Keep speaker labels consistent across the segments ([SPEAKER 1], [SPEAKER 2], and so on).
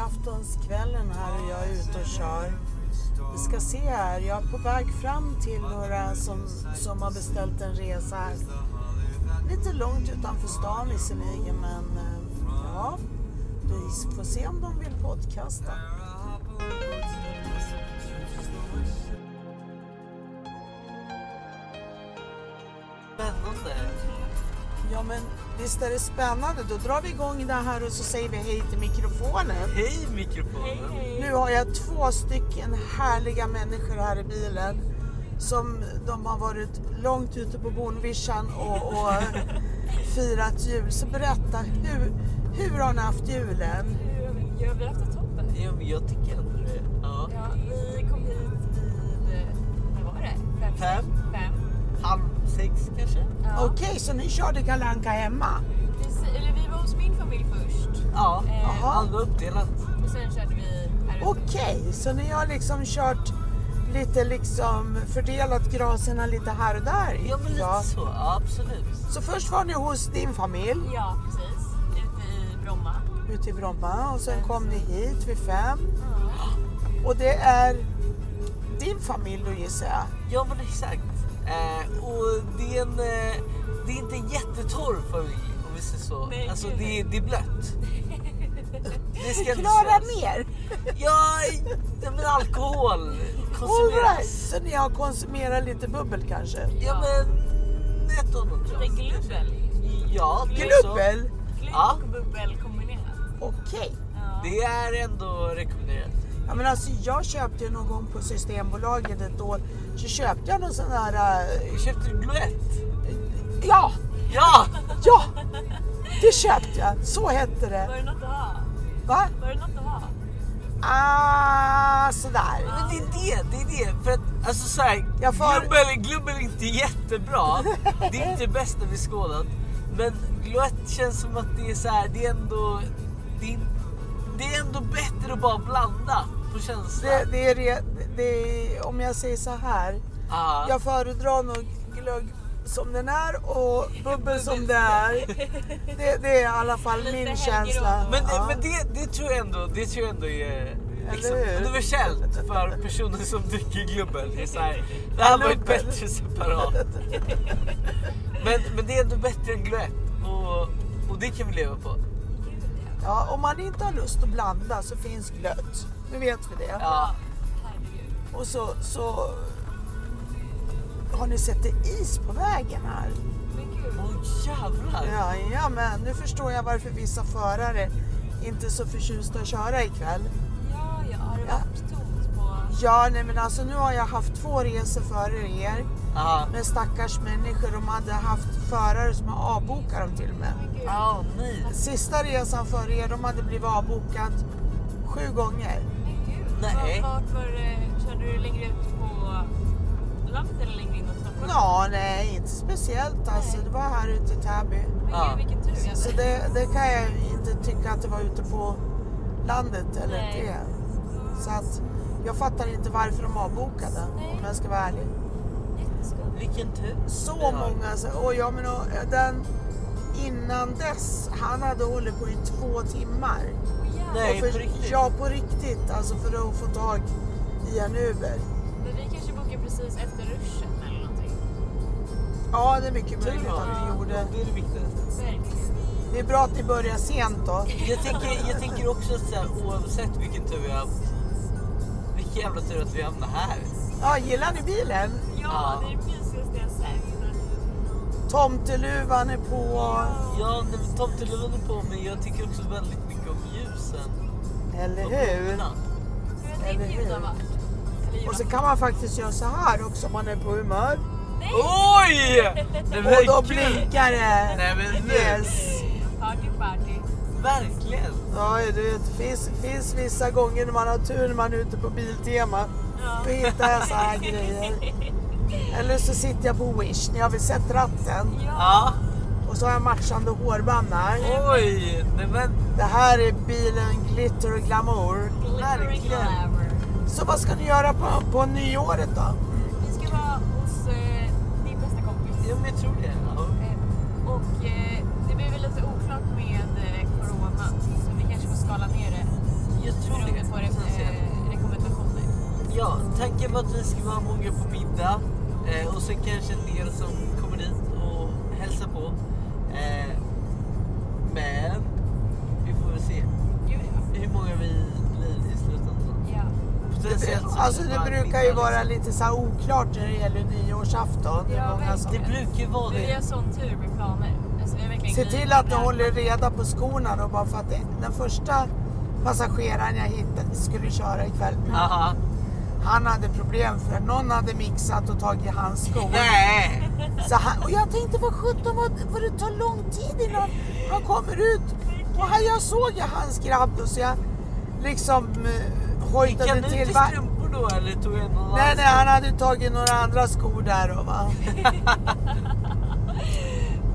[SPEAKER 1] julaftonskvällen här och jag är ute och kör. Vi ska se här, jag är på väg fram till några som, som har beställt en resa här. Lite långt utanför stan visserligen men eh, ja, vi får se om de vill podcasta.
[SPEAKER 2] Spännande.
[SPEAKER 1] Ja men visst är det spännande, då drar vi igång det här och så säger vi hej till mikrofonen.
[SPEAKER 2] Hej mikrofonen.
[SPEAKER 1] Nu har jag två stycken härliga människor här i bilen. Som de har varit långt ute på Bonvischan och, och firat jul. Så berätta, hur, hur har ni haft julen?
[SPEAKER 3] Jag har haft det toppen.
[SPEAKER 2] Ja, men jag tycker ändå det. Ja.
[SPEAKER 3] Ja, vi kom hit vid, vad var det? Fem?
[SPEAKER 2] Fem.
[SPEAKER 3] Fem.
[SPEAKER 2] Halv sex kanske?
[SPEAKER 3] Ja.
[SPEAKER 1] Okej, så ni körde Kalle Anka hemma?
[SPEAKER 3] Precis, eller vi var hos min familj först
[SPEAKER 2] Ja,
[SPEAKER 3] Eh,
[SPEAKER 2] allt var uppdelat.
[SPEAKER 3] och sen körde vi här ute.
[SPEAKER 1] Okej, så ni har liksom kört lite liksom fördelat graserna lite här och där?
[SPEAKER 2] Ja, men lite
[SPEAKER 1] Ja.
[SPEAKER 2] så. Ja, absolut.
[SPEAKER 1] Så först var ni hos din familj
[SPEAKER 3] Ja, precis. Ute i Bromma.
[SPEAKER 1] ute i Bromma och sen kom ni hit vid fem.
[SPEAKER 3] Ja.
[SPEAKER 1] Och det är din familj då gissar jag?
[SPEAKER 2] Ja, men exakt. Eh, och det är, en, eh, det är inte en jättetorr familj om vi säger så.
[SPEAKER 3] Nej,
[SPEAKER 2] alltså,
[SPEAKER 3] gud,
[SPEAKER 2] det, är- det är blött. Det ska inte
[SPEAKER 1] Klara
[SPEAKER 2] sägas.
[SPEAKER 1] mer!
[SPEAKER 2] Ja, ja, men alkohol
[SPEAKER 1] All
[SPEAKER 2] konsumeras.
[SPEAKER 1] right. Så ni har konsumerat lite bubbel kanske?
[SPEAKER 2] Ja, men ett och annat
[SPEAKER 3] Lite
[SPEAKER 2] glas.
[SPEAKER 3] glubbel.
[SPEAKER 2] Ja, det är så.
[SPEAKER 1] Glubbel?
[SPEAKER 3] Glögg
[SPEAKER 2] Ja.
[SPEAKER 3] och bubbel kombinerat.
[SPEAKER 1] Okej.
[SPEAKER 3] Ja.
[SPEAKER 2] Det är ändå rekommenderat.
[SPEAKER 1] Ja, men alltså, jag köpte ju någon gång på Systembolaget ett år, så köpte jag någon sån här... eh,
[SPEAKER 2] Köpte du Gluett?
[SPEAKER 1] Ja!
[SPEAKER 2] Ja!
[SPEAKER 1] Ja! Det köpte jag! Så hette
[SPEAKER 3] Var
[SPEAKER 1] det.
[SPEAKER 3] det något att ha?
[SPEAKER 1] Va?
[SPEAKER 3] Var det något att ha?
[SPEAKER 1] Ah, sådär.
[SPEAKER 2] Men det är det, det är det. För att alltså så här,
[SPEAKER 1] Jag får-
[SPEAKER 2] glubbel, glubbel är inte jättebra. Det är inte det bästa vi skådat. Men Gluett känns som att det är så här, det är ändå... Det är, det är ändå bättre att bara blanda på känsla.
[SPEAKER 1] Det, det är re, det är, om jag säger så här.
[SPEAKER 2] Ah.
[SPEAKER 1] Jag föredrar nog glögg som den är och bubbel som det är. Det, det är i alla fall
[SPEAKER 3] Lite
[SPEAKER 1] min
[SPEAKER 3] helgerån.
[SPEAKER 1] känsla.
[SPEAKER 2] Men, det,
[SPEAKER 1] Ja.
[SPEAKER 2] men det, det tror jag ändå, det tror jag ändå är liksom,
[SPEAKER 1] Eller hur?
[SPEAKER 2] universellt för personer som dricker glubbel. Det är så här, det här var ju
[SPEAKER 1] Glubbel.
[SPEAKER 2] bättre separat. Men, men det är ändå bättre än gluett och, och det kan vi leva på.
[SPEAKER 3] Gud, ja.
[SPEAKER 1] Ja, om man inte har lust att blanda så finns glött. Nu vet vi det.
[SPEAKER 2] Ja.
[SPEAKER 3] Herregud.
[SPEAKER 1] Och så, så har ni sett det is på vägen här?
[SPEAKER 3] Men gud.
[SPEAKER 2] Åh jävlar!
[SPEAKER 1] Ja, ja, men nu förstår jag varför vissa förare inte är så förtjusta att köra ikväll.
[SPEAKER 3] Ja, ja. Har det
[SPEAKER 1] Ja.
[SPEAKER 3] varit tomt på...
[SPEAKER 1] Ja, nej men alltså nu har jag haft två resor före er
[SPEAKER 2] Ja.
[SPEAKER 1] med stackars människor. De hade haft förare som har avbokat dem till och med.
[SPEAKER 3] Men gud.
[SPEAKER 2] Åh nej.
[SPEAKER 1] Sista resan före er, de hade blivit avbokat sju gånger.
[SPEAKER 3] Men gud,
[SPEAKER 2] Nej.
[SPEAKER 3] var- Varför eh, körde du längre ut på landet eller längre in mot Stockholm?
[SPEAKER 1] Ja, nej, inte speciellt alltså.
[SPEAKER 3] Nej.
[SPEAKER 1] Det var här ute i Täby.
[SPEAKER 3] Men
[SPEAKER 2] Ja.
[SPEAKER 3] gud vilken tur jag
[SPEAKER 1] Så det, det kan jag inte tycka att det var ute på landet eller
[SPEAKER 3] Nej.
[SPEAKER 1] det. Så att jag fattar inte varför de avbokade
[SPEAKER 3] Nej.
[SPEAKER 1] om jag ska vara ärlig.
[SPEAKER 3] Jätteskoj.
[SPEAKER 2] Vilken tur.
[SPEAKER 1] Så
[SPEAKER 2] Ja.
[SPEAKER 1] många. så- Och jag menar, den innan dess, han hade hållit på i två timmar.
[SPEAKER 3] Åh, jävlar.
[SPEAKER 2] Nej,
[SPEAKER 1] Och för,
[SPEAKER 2] på riktigt?
[SPEAKER 1] Ja, på riktigt. Alltså för att få tag i en Uber.
[SPEAKER 3] Men vi kanske bokar precis efter ruschen eller någonting.
[SPEAKER 1] Ja, det är mycket
[SPEAKER 2] Tur
[SPEAKER 1] möjligt att
[SPEAKER 2] var
[SPEAKER 1] vi gjorde.
[SPEAKER 2] det. är det viktigaste.
[SPEAKER 3] Verkligen.
[SPEAKER 1] Det är bra att ni börjar sent då.
[SPEAKER 2] Jag tänker, jag tänker också att så här, oavsett vilken tur vi har haft. Vilken jävla tur att vi hamnar här.
[SPEAKER 1] Ja, gillar ni bilen?
[SPEAKER 3] Ja,
[SPEAKER 2] Ja.
[SPEAKER 3] det är det mysigaste jag sett.
[SPEAKER 1] Tomteluvan är på.
[SPEAKER 2] Ja, nej, men tomteluvan är på men jag tycker också väldigt mycket om ljusen.
[SPEAKER 1] Eller
[SPEAKER 2] Och
[SPEAKER 1] hur?
[SPEAKER 2] blommorna.
[SPEAKER 3] Hur har ditt
[SPEAKER 1] Eller
[SPEAKER 3] ljud
[SPEAKER 1] hur?
[SPEAKER 3] har varit? Eller
[SPEAKER 1] Och så
[SPEAKER 3] Johan?
[SPEAKER 1] kan man faktiskt göra så här också om man är på humör.
[SPEAKER 3] Nej!
[SPEAKER 2] Oj! Nej, men
[SPEAKER 1] Och då
[SPEAKER 2] gud.
[SPEAKER 1] blinkar det.
[SPEAKER 2] Nej, men nu.
[SPEAKER 1] Yes.
[SPEAKER 3] Party party.
[SPEAKER 2] Verkligen.
[SPEAKER 1] Ja, du vet, det finns, finns vissa gånger när man har tur när man är ute på Biltema.
[SPEAKER 3] Ja.
[SPEAKER 1] Då hittar jag så här grejer. Eller så sitter jag på Wish när jag vill sett ratten.
[SPEAKER 3] Ja.
[SPEAKER 2] Ja.
[SPEAKER 1] Och så har jag matchande hårband här.
[SPEAKER 2] Oj! Nej, men
[SPEAKER 1] Det här är bilen Glitter och Glamour.
[SPEAKER 3] Glittering
[SPEAKER 2] verkligen.
[SPEAKER 3] glamour.
[SPEAKER 1] Så vad ska ni göra på, på nyåret då?
[SPEAKER 3] Vi ska vara hos eh, din bästa kompis.
[SPEAKER 2] ja, men jag tror det. Ja.
[SPEAKER 3] Eh, Och eh, det blir väl lite oklart med eh, corona, så vi kanske får skala ner det.
[SPEAKER 2] Jag
[SPEAKER 3] eh,
[SPEAKER 2] tänker mig att vi ska vara många på middag eh, och sen kanske en del som kommer dit och hälsar på. Eh, men vi får väl se
[SPEAKER 3] Gud ja.
[SPEAKER 2] hur många vi blir i slutändan.
[SPEAKER 3] ja.
[SPEAKER 2] Potentiellt så
[SPEAKER 1] Alltså
[SPEAKER 2] blir
[SPEAKER 1] det
[SPEAKER 2] bara
[SPEAKER 1] brukar ju
[SPEAKER 2] middag,
[SPEAKER 1] vara
[SPEAKER 2] liksom.
[SPEAKER 1] lite så här oklart när det gäller nyårsafton. Det är
[SPEAKER 3] Ja,
[SPEAKER 1] många som...
[SPEAKER 2] Det brukar ju vara
[SPEAKER 3] Vi
[SPEAKER 2] det.
[SPEAKER 3] har sån tur med planer. Alltså, vi har verkligen
[SPEAKER 1] Se
[SPEAKER 3] grejer
[SPEAKER 1] till att
[SPEAKER 3] på
[SPEAKER 1] du
[SPEAKER 3] det här.
[SPEAKER 1] håller reda på skorna då bara för att det- den första passageraren jag hittade skulle köra ikväll.
[SPEAKER 2] Aha.
[SPEAKER 1] Han hade problem för någon hade mixat och tagit hans skor.
[SPEAKER 2] Nej!
[SPEAKER 1] Så han, och jag tänkte vad sjutton vad, vad det tar lång tid innan han kommer ut. Och här jag såg ju hans grabb då så jag liksom eh,
[SPEAKER 2] Gick han
[SPEAKER 1] hojtade
[SPEAKER 2] ut
[SPEAKER 1] till.
[SPEAKER 2] i
[SPEAKER 1] Va?
[SPEAKER 2] strumpor då eller tog han någon
[SPEAKER 1] Nej
[SPEAKER 2] annan?
[SPEAKER 1] nej han hade tagit några andra skor där då va.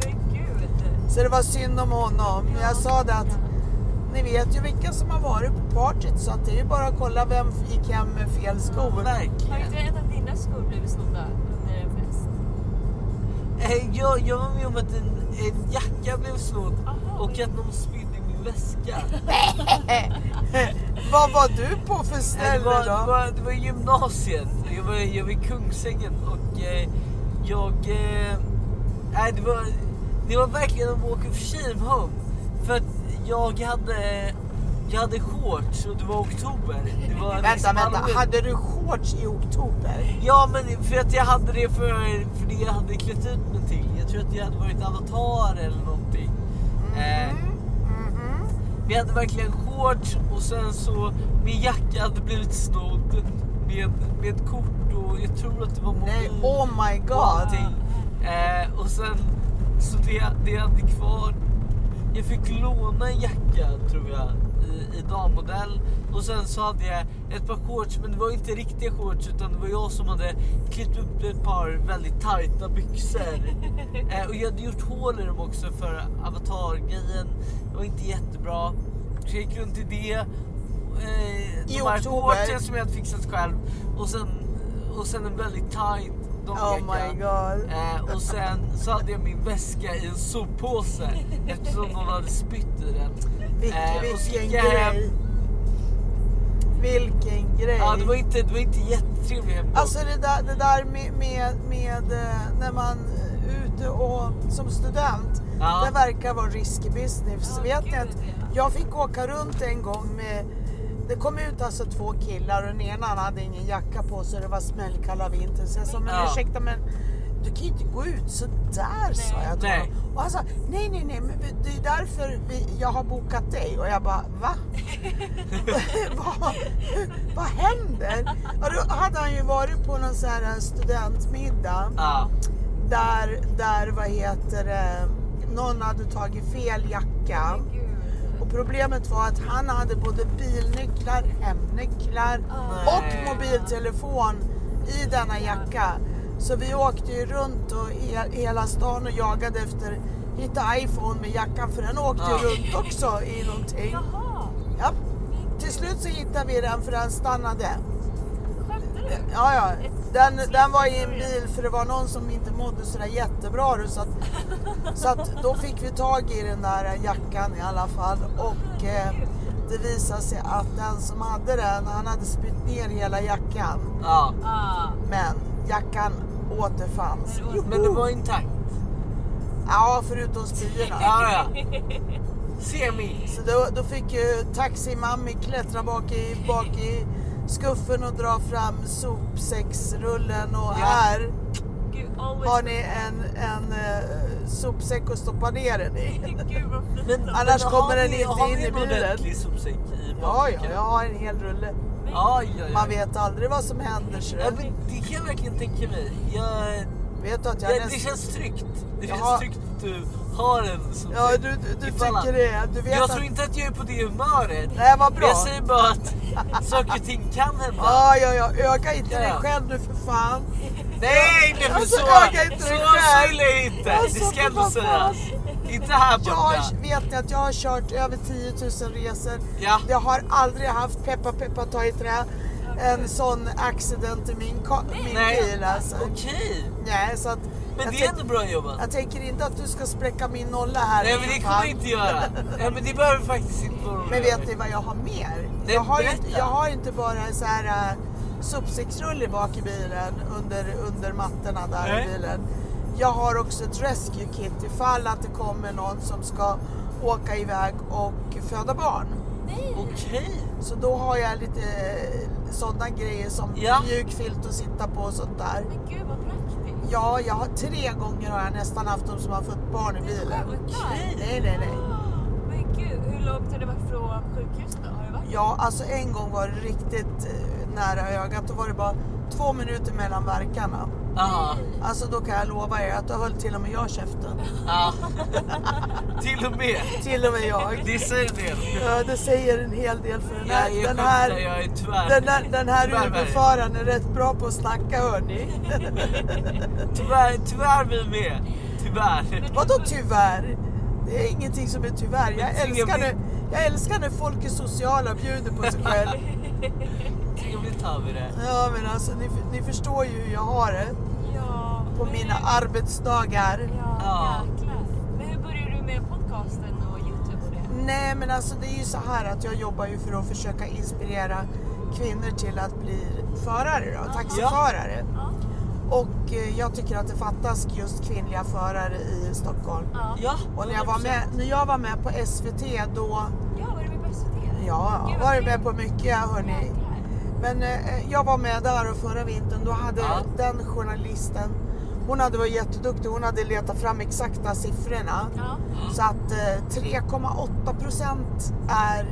[SPEAKER 3] Men gud.
[SPEAKER 1] Så det var synd om honom. Men jag sa det att ni vet ju vilka som har varit på partyt så att det är ju bara att kolla vem gick hem med fel skor.
[SPEAKER 3] Har
[SPEAKER 2] Verkligen.
[SPEAKER 3] inte en av dina skor blivit snodda under en fest?
[SPEAKER 2] Eh, Jag, jag var med om att en, en jacka blev snott
[SPEAKER 3] Aha.
[SPEAKER 2] och att någon spydde i min väska. Eh,
[SPEAKER 1] Vad var du på för
[SPEAKER 2] Eh, Det
[SPEAKER 1] ställe
[SPEAKER 2] var, det
[SPEAKER 1] då?
[SPEAKER 2] var, det var i gymnasiet. Jag var, jag var i Kungsängen och eh, jag... Eh, nej, det, var, det var verkligen en walk of shame home. För att jag hade, jag hade shorts och det var oktober. Det var
[SPEAKER 1] Vänta,
[SPEAKER 2] liksom
[SPEAKER 1] vänta.
[SPEAKER 2] halloween.
[SPEAKER 1] Hade du shorts i oktober?
[SPEAKER 2] Ja men för att jag hade det för, för det jag hade klätt ut mig till. Jag tror att jag hade varit avatar eller någonting.
[SPEAKER 1] Mm,
[SPEAKER 2] Eh,
[SPEAKER 1] Mhm.
[SPEAKER 2] vi hade verkligen shorts och sen så min jacka hade blivit snodd med, med kort och jag tror att det var mobil.
[SPEAKER 1] Nej, oh my
[SPEAKER 2] och
[SPEAKER 1] god.
[SPEAKER 2] allting. Eh, och sen så det, det jag hade kvar. Jag fick låna en jacka tror jag i, i dammodell och sen så hade jag ett par shorts men det var inte riktiga shorts utan det var jag som hade klippt upp ett par väldigt tajta byxor. eh, och jag hade gjort hål i dem också för avatargrejen. Det var inte jättebra. Så jag gick runt i det. Eh,
[SPEAKER 1] I
[SPEAKER 2] de här
[SPEAKER 1] oktober.
[SPEAKER 2] shortsen som jag hade fixat själv och sen, och sen en väldigt tight
[SPEAKER 1] Oh
[SPEAKER 2] damjacka.
[SPEAKER 1] my god.
[SPEAKER 2] Eh, och sen så hade jag min väska i en soppåse eftersom någon hade spytt i den.
[SPEAKER 1] Vilken,
[SPEAKER 2] Eh, och så
[SPEAKER 1] vilken
[SPEAKER 2] gick jag hem.
[SPEAKER 1] grej. Vilken grej.
[SPEAKER 2] Ja, det var inte, det var inte jättetrevlig hemgång.
[SPEAKER 1] Alltså det där, det där med, med, med eh, när man är ute och som student.
[SPEAKER 2] Ja.
[SPEAKER 1] Det verkar vara risky business.
[SPEAKER 3] Ja,
[SPEAKER 1] vet ni
[SPEAKER 3] gud,
[SPEAKER 1] att
[SPEAKER 3] ja.
[SPEAKER 1] jag fick åka runt en gång med det kom ut alltså två killar och den ena han hade ingen jacka på sig det var smällkalla vintern. Så jag sa, men
[SPEAKER 2] Ja.
[SPEAKER 1] ursäkta men du kan ju inte gå ut så där sa jag till
[SPEAKER 2] Nej.
[SPEAKER 1] honom. Och han sa, nej nej nej men det är därför vi, jag har bokat dig. Och jag bara, va? vad, vad händer? Och då hade han ju varit på någon så här eh, studentmiddag
[SPEAKER 2] Ja.
[SPEAKER 1] där, där vad heter det, någon hade tagit fel jacka.
[SPEAKER 3] Men gud.
[SPEAKER 1] Och problemet var att han hade både bilnycklar, hemnycklar
[SPEAKER 3] Ah.
[SPEAKER 1] och mobiltelefon i denna jacka. Så vi åkte ju runt och i hela stan och jagade efter hitta iPhone med jackan för den åkte ju
[SPEAKER 2] Ah.
[SPEAKER 1] runt också i någonting.
[SPEAKER 3] Jaha.
[SPEAKER 1] Ja. Till slut så hittade vi den för den stannade.
[SPEAKER 3] Skämtar du?
[SPEAKER 1] Ja, ja. Den, den var i en bil för det var någon som inte mådde sådär jättebra. då, Så att, så att då fick vi tag i den där jackan i alla fall. Och eh, det visade sig att den som hade den, han hade spytt ner hela jackan.
[SPEAKER 2] ja.
[SPEAKER 3] Ah.
[SPEAKER 1] Men jackan återfanns.
[SPEAKER 3] Men det var-
[SPEAKER 2] Men det var intakt.
[SPEAKER 1] Ja, förutom spyorna.
[SPEAKER 2] Ja, ja. Semi.
[SPEAKER 1] Så då, då fick ju taximammi klättra bak i, bak i skuffen och dra fram sopsäcksrullen och
[SPEAKER 2] Ja.
[SPEAKER 1] här
[SPEAKER 3] Gud, always.
[SPEAKER 1] har ni en, en eh, sopsäck att stoppa ner den i.
[SPEAKER 3] Gud vad fint.
[SPEAKER 2] Men,
[SPEAKER 1] Annars
[SPEAKER 2] men har
[SPEAKER 1] kommer den
[SPEAKER 2] ni-
[SPEAKER 1] inte
[SPEAKER 2] har
[SPEAKER 1] in
[SPEAKER 2] ni
[SPEAKER 1] i
[SPEAKER 2] en
[SPEAKER 1] bilen.
[SPEAKER 2] ordentlig sopsäck i
[SPEAKER 1] Ja, ja,
[SPEAKER 2] bakfickan?
[SPEAKER 1] jag har en hel rulle.
[SPEAKER 2] Aj, aj, aj.
[SPEAKER 1] Man vet aldrig vad som händer. så
[SPEAKER 2] Eh. Ja, men det kan jag verkligen tänka mig. Jag,
[SPEAKER 1] Vet du att jag
[SPEAKER 2] jag, det
[SPEAKER 1] nästan...
[SPEAKER 2] känns tryggt. Det
[SPEAKER 1] Jag
[SPEAKER 2] känns
[SPEAKER 1] har-
[SPEAKER 2] tryggt att du har en sopsäck.
[SPEAKER 1] Ja, du, du, du
[SPEAKER 2] Ifall
[SPEAKER 1] tycker
[SPEAKER 2] att-
[SPEAKER 1] det. Du vet
[SPEAKER 2] Jag
[SPEAKER 1] att...
[SPEAKER 2] tror inte att jag är på det humöret.
[SPEAKER 1] Nej, vad bra.
[SPEAKER 2] Jag säger bara att saker och ting kan hända.
[SPEAKER 1] Ja, ja, ja. Öga inte dig
[SPEAKER 2] Ja.
[SPEAKER 1] själv nu för fan.
[SPEAKER 2] Nej, nej men
[SPEAKER 1] Alltså,
[SPEAKER 2] så,
[SPEAKER 1] öga inte
[SPEAKER 2] så,
[SPEAKER 1] dig själv.
[SPEAKER 2] så illa är jag inte.
[SPEAKER 1] Alltså,
[SPEAKER 2] det ska jag ändå
[SPEAKER 1] vad
[SPEAKER 2] säga.
[SPEAKER 1] fan.
[SPEAKER 2] Inte här
[SPEAKER 1] Jag
[SPEAKER 2] borta.
[SPEAKER 1] har, vet ni att jag har kört över 10 000 resor.
[SPEAKER 2] Ja.
[SPEAKER 1] Jag har aldrig haft, peppa peppa ta i trä, en sån accident i min, ka- min
[SPEAKER 2] Nej,
[SPEAKER 1] bil alltså.
[SPEAKER 2] okej.
[SPEAKER 1] Nej, så att
[SPEAKER 2] Men
[SPEAKER 1] jag
[SPEAKER 2] det är
[SPEAKER 1] tänk-
[SPEAKER 2] ändå bra jobbat.
[SPEAKER 1] Jag tänker inte att du ska spräcka min nolla här.
[SPEAKER 2] Nej men det
[SPEAKER 1] för
[SPEAKER 2] kommer
[SPEAKER 1] fan.
[SPEAKER 2] jag inte göra. Nej men det behöver faktiskt inte vara
[SPEAKER 1] Men
[SPEAKER 2] roligt.
[SPEAKER 1] vet ni vad jag har mer?
[SPEAKER 2] Nej,
[SPEAKER 1] jag, har ju
[SPEAKER 2] berätta.
[SPEAKER 1] inte, jag har inte bara så här äh, supsikrulle bak i bilen under, under mattorna där
[SPEAKER 2] Nej.
[SPEAKER 1] i bilen. Jag har också ett rescue kit ifall att det kommer någon som ska åka iväg och föda barn.
[SPEAKER 3] Nej!
[SPEAKER 2] Okej.
[SPEAKER 1] Så då har jag lite eh, sådana grejer som
[SPEAKER 2] Ja.
[SPEAKER 1] mjuk filt att sitta på och sånt där.
[SPEAKER 3] Men gud vad praktiskt.
[SPEAKER 1] Ja, jag har tre gånger har jag nästan haft de som har fått barn i bilen.
[SPEAKER 3] Okej.
[SPEAKER 1] Nej, nej, nej.
[SPEAKER 3] Men gud, hur långt har det varit från sjukhuset då? Har det varit?
[SPEAKER 1] Ja, alltså en gång var det riktigt eh, nära ögat. Då var det bara två minuter mellan verkarna.
[SPEAKER 2] Ja.
[SPEAKER 1] Alltså då kan jag lova er att då höll till och med jag käften.
[SPEAKER 2] ja. Till och med.
[SPEAKER 1] Till och med jag.
[SPEAKER 2] Det säger en del.
[SPEAKER 1] Ja, det säger en hel del för den
[SPEAKER 2] Jag
[SPEAKER 1] här,
[SPEAKER 2] är
[SPEAKER 1] den
[SPEAKER 2] här,
[SPEAKER 1] här,
[SPEAKER 2] jag är tvär.
[SPEAKER 1] den här, den här
[SPEAKER 2] Tyvärr,
[SPEAKER 1] Uberföraren är rätt bra på att snacka hörni.
[SPEAKER 2] Tyvärr, tyvärr vi med. Tyvärr.
[SPEAKER 1] Vadå tyvärr? Det är ingenting som är tyvärr. Jag
[SPEAKER 2] Men
[SPEAKER 1] älskar
[SPEAKER 2] trevligt.
[SPEAKER 1] när, jag älskar när folk är sociala och bjuder på sig själv.
[SPEAKER 2] Trevligt har vi det.
[SPEAKER 1] Ja men alltså ni, ni förstår ju hur jag har det
[SPEAKER 3] Ja.
[SPEAKER 1] på
[SPEAKER 3] men
[SPEAKER 1] mina
[SPEAKER 2] Mm.
[SPEAKER 3] hur-
[SPEAKER 1] arbetsdagar.
[SPEAKER 3] Ja,
[SPEAKER 2] Ja.
[SPEAKER 3] jäklar. Men hur började du med podcasten och Youtube och det?
[SPEAKER 1] Nej men alltså det är ju så här att jag jobbar ju för att försöka inspirera kvinnor till att bli förare då, taxiförare.
[SPEAKER 3] Ja.
[SPEAKER 1] Och eh, jag tycker att det fattas just kvinnliga förare i Stockholm.
[SPEAKER 3] Ja.
[SPEAKER 2] Ja,
[SPEAKER 1] Och när jag var
[SPEAKER 2] 100%.
[SPEAKER 1] med, när jag var med på SVT då,
[SPEAKER 3] Ja, var du med på SVT?
[SPEAKER 1] ja,
[SPEAKER 3] Gud, vad
[SPEAKER 1] var jag
[SPEAKER 3] kul.
[SPEAKER 1] med på mycket hörni.
[SPEAKER 3] Jäklar.
[SPEAKER 1] Men eh, jag var med där och förra vintern då hade
[SPEAKER 2] Ja.
[SPEAKER 1] den journalisten, hon hade varit jätteduktig, hon hade letat fram exakta siffrorna.
[SPEAKER 3] Ja.
[SPEAKER 1] Så att eh, 3,8 procent är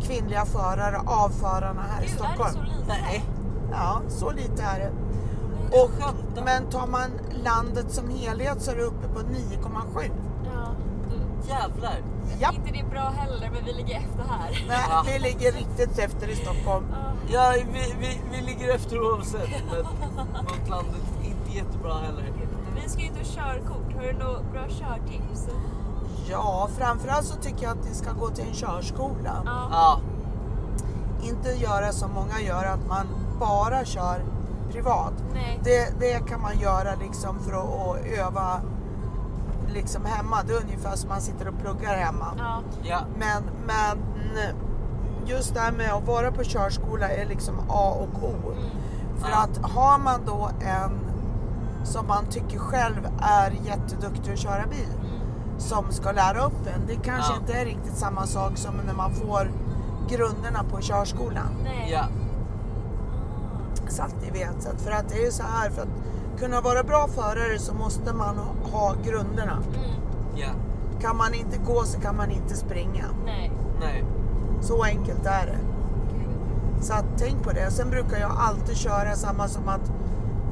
[SPEAKER 1] kvinnliga förare av förarna här i
[SPEAKER 3] Gud, är det så
[SPEAKER 1] Stockholm.
[SPEAKER 3] lite?
[SPEAKER 2] Nej.
[SPEAKER 1] Ja, så lite är det.
[SPEAKER 3] Men-
[SPEAKER 1] Och,
[SPEAKER 2] skämtar.
[SPEAKER 1] men tar man landet som helhet så är det uppe på 9,7.
[SPEAKER 3] Ja, du-
[SPEAKER 2] Jävlar.
[SPEAKER 1] Japp,
[SPEAKER 3] Inte det är bra heller, men vi ligger efter här.
[SPEAKER 1] nej,
[SPEAKER 2] Ja.
[SPEAKER 1] vi ligger riktigt efter i Stockholm.
[SPEAKER 3] Ja.
[SPEAKER 2] Ja, vi, vi, vi ligger efter oavsett. Men mot landet inte jättebra heller.
[SPEAKER 3] Vi ska ju inte ha körkort. Har du något bra körtips?
[SPEAKER 1] Ja, framförallt så tycker jag att ni ska gå till en körskola.
[SPEAKER 3] Ja.
[SPEAKER 2] Ja,
[SPEAKER 1] Inte göra som många gör, att man bara kör privat.
[SPEAKER 3] Nej.
[SPEAKER 1] Det, det kan man göra liksom för att, att öva liksom hemma. Det är ungefär som man sitter och pluggar hemma.
[SPEAKER 3] Ja.
[SPEAKER 2] ja.
[SPEAKER 1] Men, men just det här med att vara på körskola är liksom A och O.
[SPEAKER 3] Mm,
[SPEAKER 1] För
[SPEAKER 2] Ja.
[SPEAKER 1] att har man då en som man tycker själv är jätteduktig att köra bil
[SPEAKER 3] mm.
[SPEAKER 1] som ska lära upp en. Det kanske
[SPEAKER 2] Ja.
[SPEAKER 1] inte är riktigt samma sak som när man får grunderna på körskolan.
[SPEAKER 3] Nej.
[SPEAKER 2] ja.
[SPEAKER 1] Så att ni vet. Så att, för att det är ju så här, för att kunna vara bra förare så måste man ha- ha grunderna.
[SPEAKER 3] Mm.
[SPEAKER 2] Ja,
[SPEAKER 1] Kan man inte gå så kan man inte springa.
[SPEAKER 3] Nej.
[SPEAKER 2] nej.
[SPEAKER 1] Så enkelt är det.
[SPEAKER 3] Gud.
[SPEAKER 1] Så att, tänk på det. Sen brukar jag alltid köra samma som att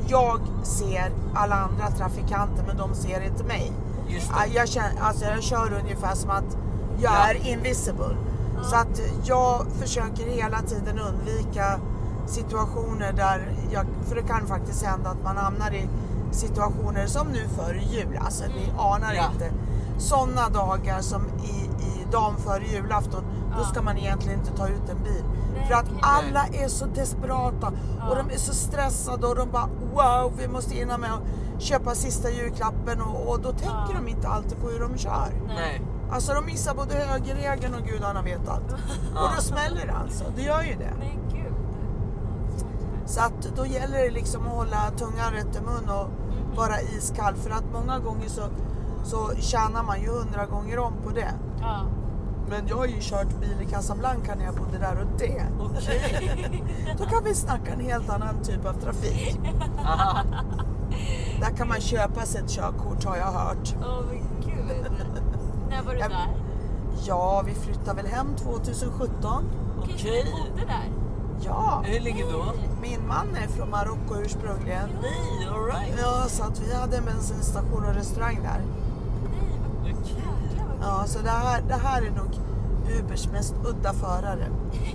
[SPEAKER 1] jag ser alla andra trafikanter men de ser inte mig.
[SPEAKER 2] Just
[SPEAKER 1] Ja,
[SPEAKER 2] det.
[SPEAKER 1] Jag, känner, alltså jag kör ungefär som att jag
[SPEAKER 2] Ja.
[SPEAKER 1] är invisible. Så att jag försöker hela tiden undvika situationer där jag, för det kan faktiskt hända att man hamnar i situationer som nu före jul, alltså
[SPEAKER 3] Mm.
[SPEAKER 1] ni anar
[SPEAKER 2] Ja.
[SPEAKER 1] inte. Sådana dagar som i, i dagen före julafton, då
[SPEAKER 3] Ja.
[SPEAKER 1] ska man egentligen inte ta ut en bil.
[SPEAKER 3] Nej,
[SPEAKER 1] för att
[SPEAKER 3] okej.
[SPEAKER 1] alla är så desperata och de är så stressade och de bara wow, vi måste hinna med att köpa sista julklappen och, och då tänker
[SPEAKER 3] Ja.
[SPEAKER 1] de inte alltid på hur de kör.
[SPEAKER 2] Nej.
[SPEAKER 1] Alltså de missar både högerregeln och gudarna vet allt. Och då smäller det alltså, det gör ju det.
[SPEAKER 3] Men gud.
[SPEAKER 1] Så att då gäller det liksom att hålla tungan rätt i mun och vara iskall. För att många gånger så, så tjänar man ju hundra gånger om på det.
[SPEAKER 3] Ja.
[SPEAKER 1] Men jag har ju kört bil i Casablanca när jag bodde där och det. Då kan vi snacka en helt annan typ av trafik.
[SPEAKER 2] Aha.
[SPEAKER 1] Där kan man köpa sig ett körkort har jag hört.
[SPEAKER 3] Åh men gud. När var du
[SPEAKER 1] Jag-
[SPEAKER 3] där?
[SPEAKER 1] Ja, vi flyttade väl hem 2017.
[SPEAKER 3] Okej.
[SPEAKER 2] Okej.
[SPEAKER 3] Du bodde där?
[SPEAKER 1] Ja,
[SPEAKER 2] Hur ligger då?
[SPEAKER 1] min man är från Marocko ursprungligen.
[SPEAKER 2] Nej, alright.
[SPEAKER 1] Ja, så att vi hade en bensinstation och restaurang där.
[SPEAKER 3] Nej, vad jäklar vad
[SPEAKER 1] Ja, så det här, det här är nog Ubers mest udda förare.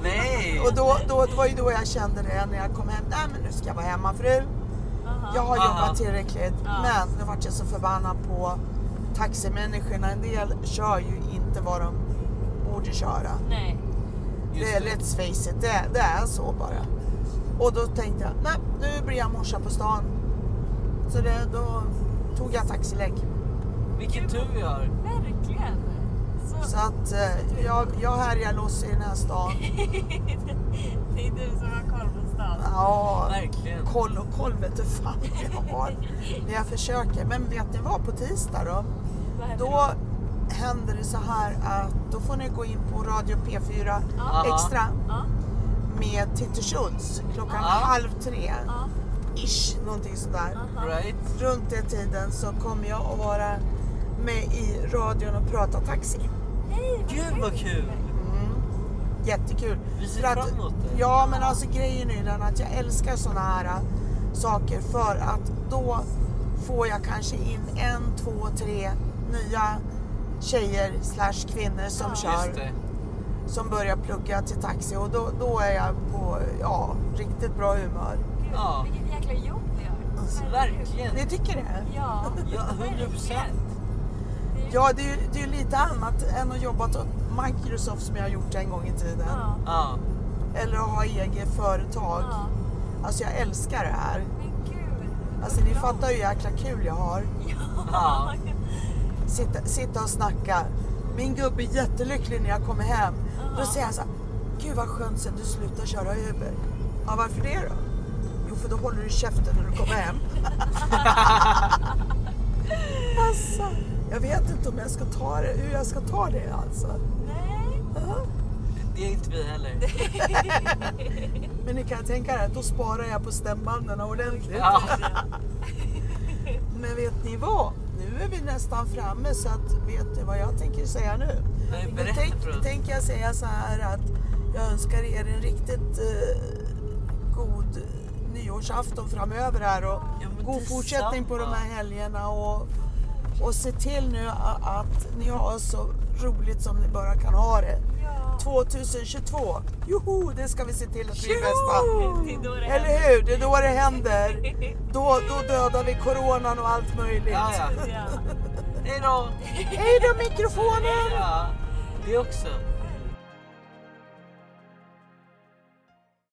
[SPEAKER 2] Nej.
[SPEAKER 1] Och då, då, det var ju då jag kände det när jag kom hem. Nej, men nu ska jag vara hemmafru.
[SPEAKER 3] Aha.
[SPEAKER 1] Jag har
[SPEAKER 2] Aha.
[SPEAKER 1] jobbat tillräckligt.
[SPEAKER 3] Ja.
[SPEAKER 1] Men nu vart jag så förbannad på taximänniskorna. En del kör ju inte vad de borde köra.
[SPEAKER 3] Nej.
[SPEAKER 1] Det är let's face it, det, det är så bara. Och då tänkte jag, nej nu blir jag morsa på stan. Så det, då tog jag taxilägg.
[SPEAKER 2] Vilken tur vi har.
[SPEAKER 3] Verkligen. Så,
[SPEAKER 1] Så att eh, jag, jag härjar loss i den här stan.
[SPEAKER 3] det är du som har koll på stan.
[SPEAKER 1] Ja,
[SPEAKER 2] Verkligen.
[SPEAKER 1] koll och koll vete fan jag har. Men jag försöker. Men vet ni vad? På tisdag då?
[SPEAKER 3] Vad händer
[SPEAKER 1] Då händer det så här att då får ni gå in på Radio P4
[SPEAKER 3] Ja.
[SPEAKER 1] Extra
[SPEAKER 3] Ja,
[SPEAKER 1] med Titti Schultz klockan
[SPEAKER 2] Ja.
[SPEAKER 1] halv tre.
[SPEAKER 3] ja,
[SPEAKER 1] Ish, någonting sådär.
[SPEAKER 3] aha.
[SPEAKER 2] Right?
[SPEAKER 1] Runt den tiden så kommer jag att vara med i radion och prata taxi.
[SPEAKER 3] Hej,
[SPEAKER 2] Gud vad kul!
[SPEAKER 1] Jättekul.
[SPEAKER 2] Vi ser
[SPEAKER 1] För
[SPEAKER 2] fram emot det.
[SPEAKER 1] Ja, men alltså grejen är ju den att jag älskar såna här äh, saker för att då får jag kanske in en, två, tre nya tjejer slash kvinnor som
[SPEAKER 3] Ja.
[SPEAKER 1] kör,
[SPEAKER 2] Just det.
[SPEAKER 1] som börjar plugga till taxi och då, då är jag på, ja, riktigt bra humör.
[SPEAKER 3] Gud,
[SPEAKER 2] Ja.
[SPEAKER 3] Vilket jäkla jobb vi gör.
[SPEAKER 1] Alltså,
[SPEAKER 3] Herregud.
[SPEAKER 2] Verkligen.
[SPEAKER 1] Ni tycker det?
[SPEAKER 3] Ja,
[SPEAKER 2] Ja, 100 procent.
[SPEAKER 3] Det är-
[SPEAKER 1] Ja, det är ju det är ju lite annat än att jobba åt Microsoft som jag har gjort en gång i tiden.
[SPEAKER 3] Ja,
[SPEAKER 2] Ja.
[SPEAKER 1] Eller att ha eget företag.
[SPEAKER 3] ja.
[SPEAKER 1] Alltså jag älskar det här.
[SPEAKER 3] Men gud.
[SPEAKER 1] Alltså ni fattar hur jäkla kul jag har.
[SPEAKER 2] Ja.
[SPEAKER 3] Ja.
[SPEAKER 1] sitta, sitta och snacka. Min gubbe är jättelycklig när jag kommer hem. Då
[SPEAKER 3] Ja.
[SPEAKER 1] säger han så här, Gud vad skönt sen du slutar köra Uber. Ja, varför det då? Jo, för då håller du käften när du kommer hem. alltså, jag vet inte om jag ska ta det, hur jag ska ta det alltså.
[SPEAKER 3] Nej.
[SPEAKER 1] Ja.
[SPEAKER 2] Det är inte vi heller.
[SPEAKER 1] Men ni kan tänka er att då sparar jag på stämbanden ordentligt.
[SPEAKER 2] Ja.
[SPEAKER 1] Men vet ni vad? Nu är vi nästan framme så att vet ni vad jag tänker säga nu?
[SPEAKER 2] Nej,
[SPEAKER 1] Då
[SPEAKER 2] berätta
[SPEAKER 1] tänk,
[SPEAKER 2] för oss.
[SPEAKER 1] tänker jag säga så här att jag önskar er en riktigt eh, god nyårsafton framöver här och
[SPEAKER 2] Ja, men
[SPEAKER 1] god
[SPEAKER 2] detsamma.
[SPEAKER 1] fortsättning på de här helgerna och, och se till nu a- att ni har så roligt som ni bara kan ha det.
[SPEAKER 3] Ja.
[SPEAKER 1] 2022, joho, det ska vi se till att vi är
[SPEAKER 2] Tjo!
[SPEAKER 1] bästa.
[SPEAKER 3] Det är då det
[SPEAKER 1] Eller
[SPEAKER 3] händer.
[SPEAKER 1] hur, det är då det händer. Då, då dödar vi coronan och allt möjligt.
[SPEAKER 2] Ja, ja.
[SPEAKER 3] Ja.
[SPEAKER 2] Hej då!
[SPEAKER 1] Hej då mikrofonen!
[SPEAKER 2] Ja, det också.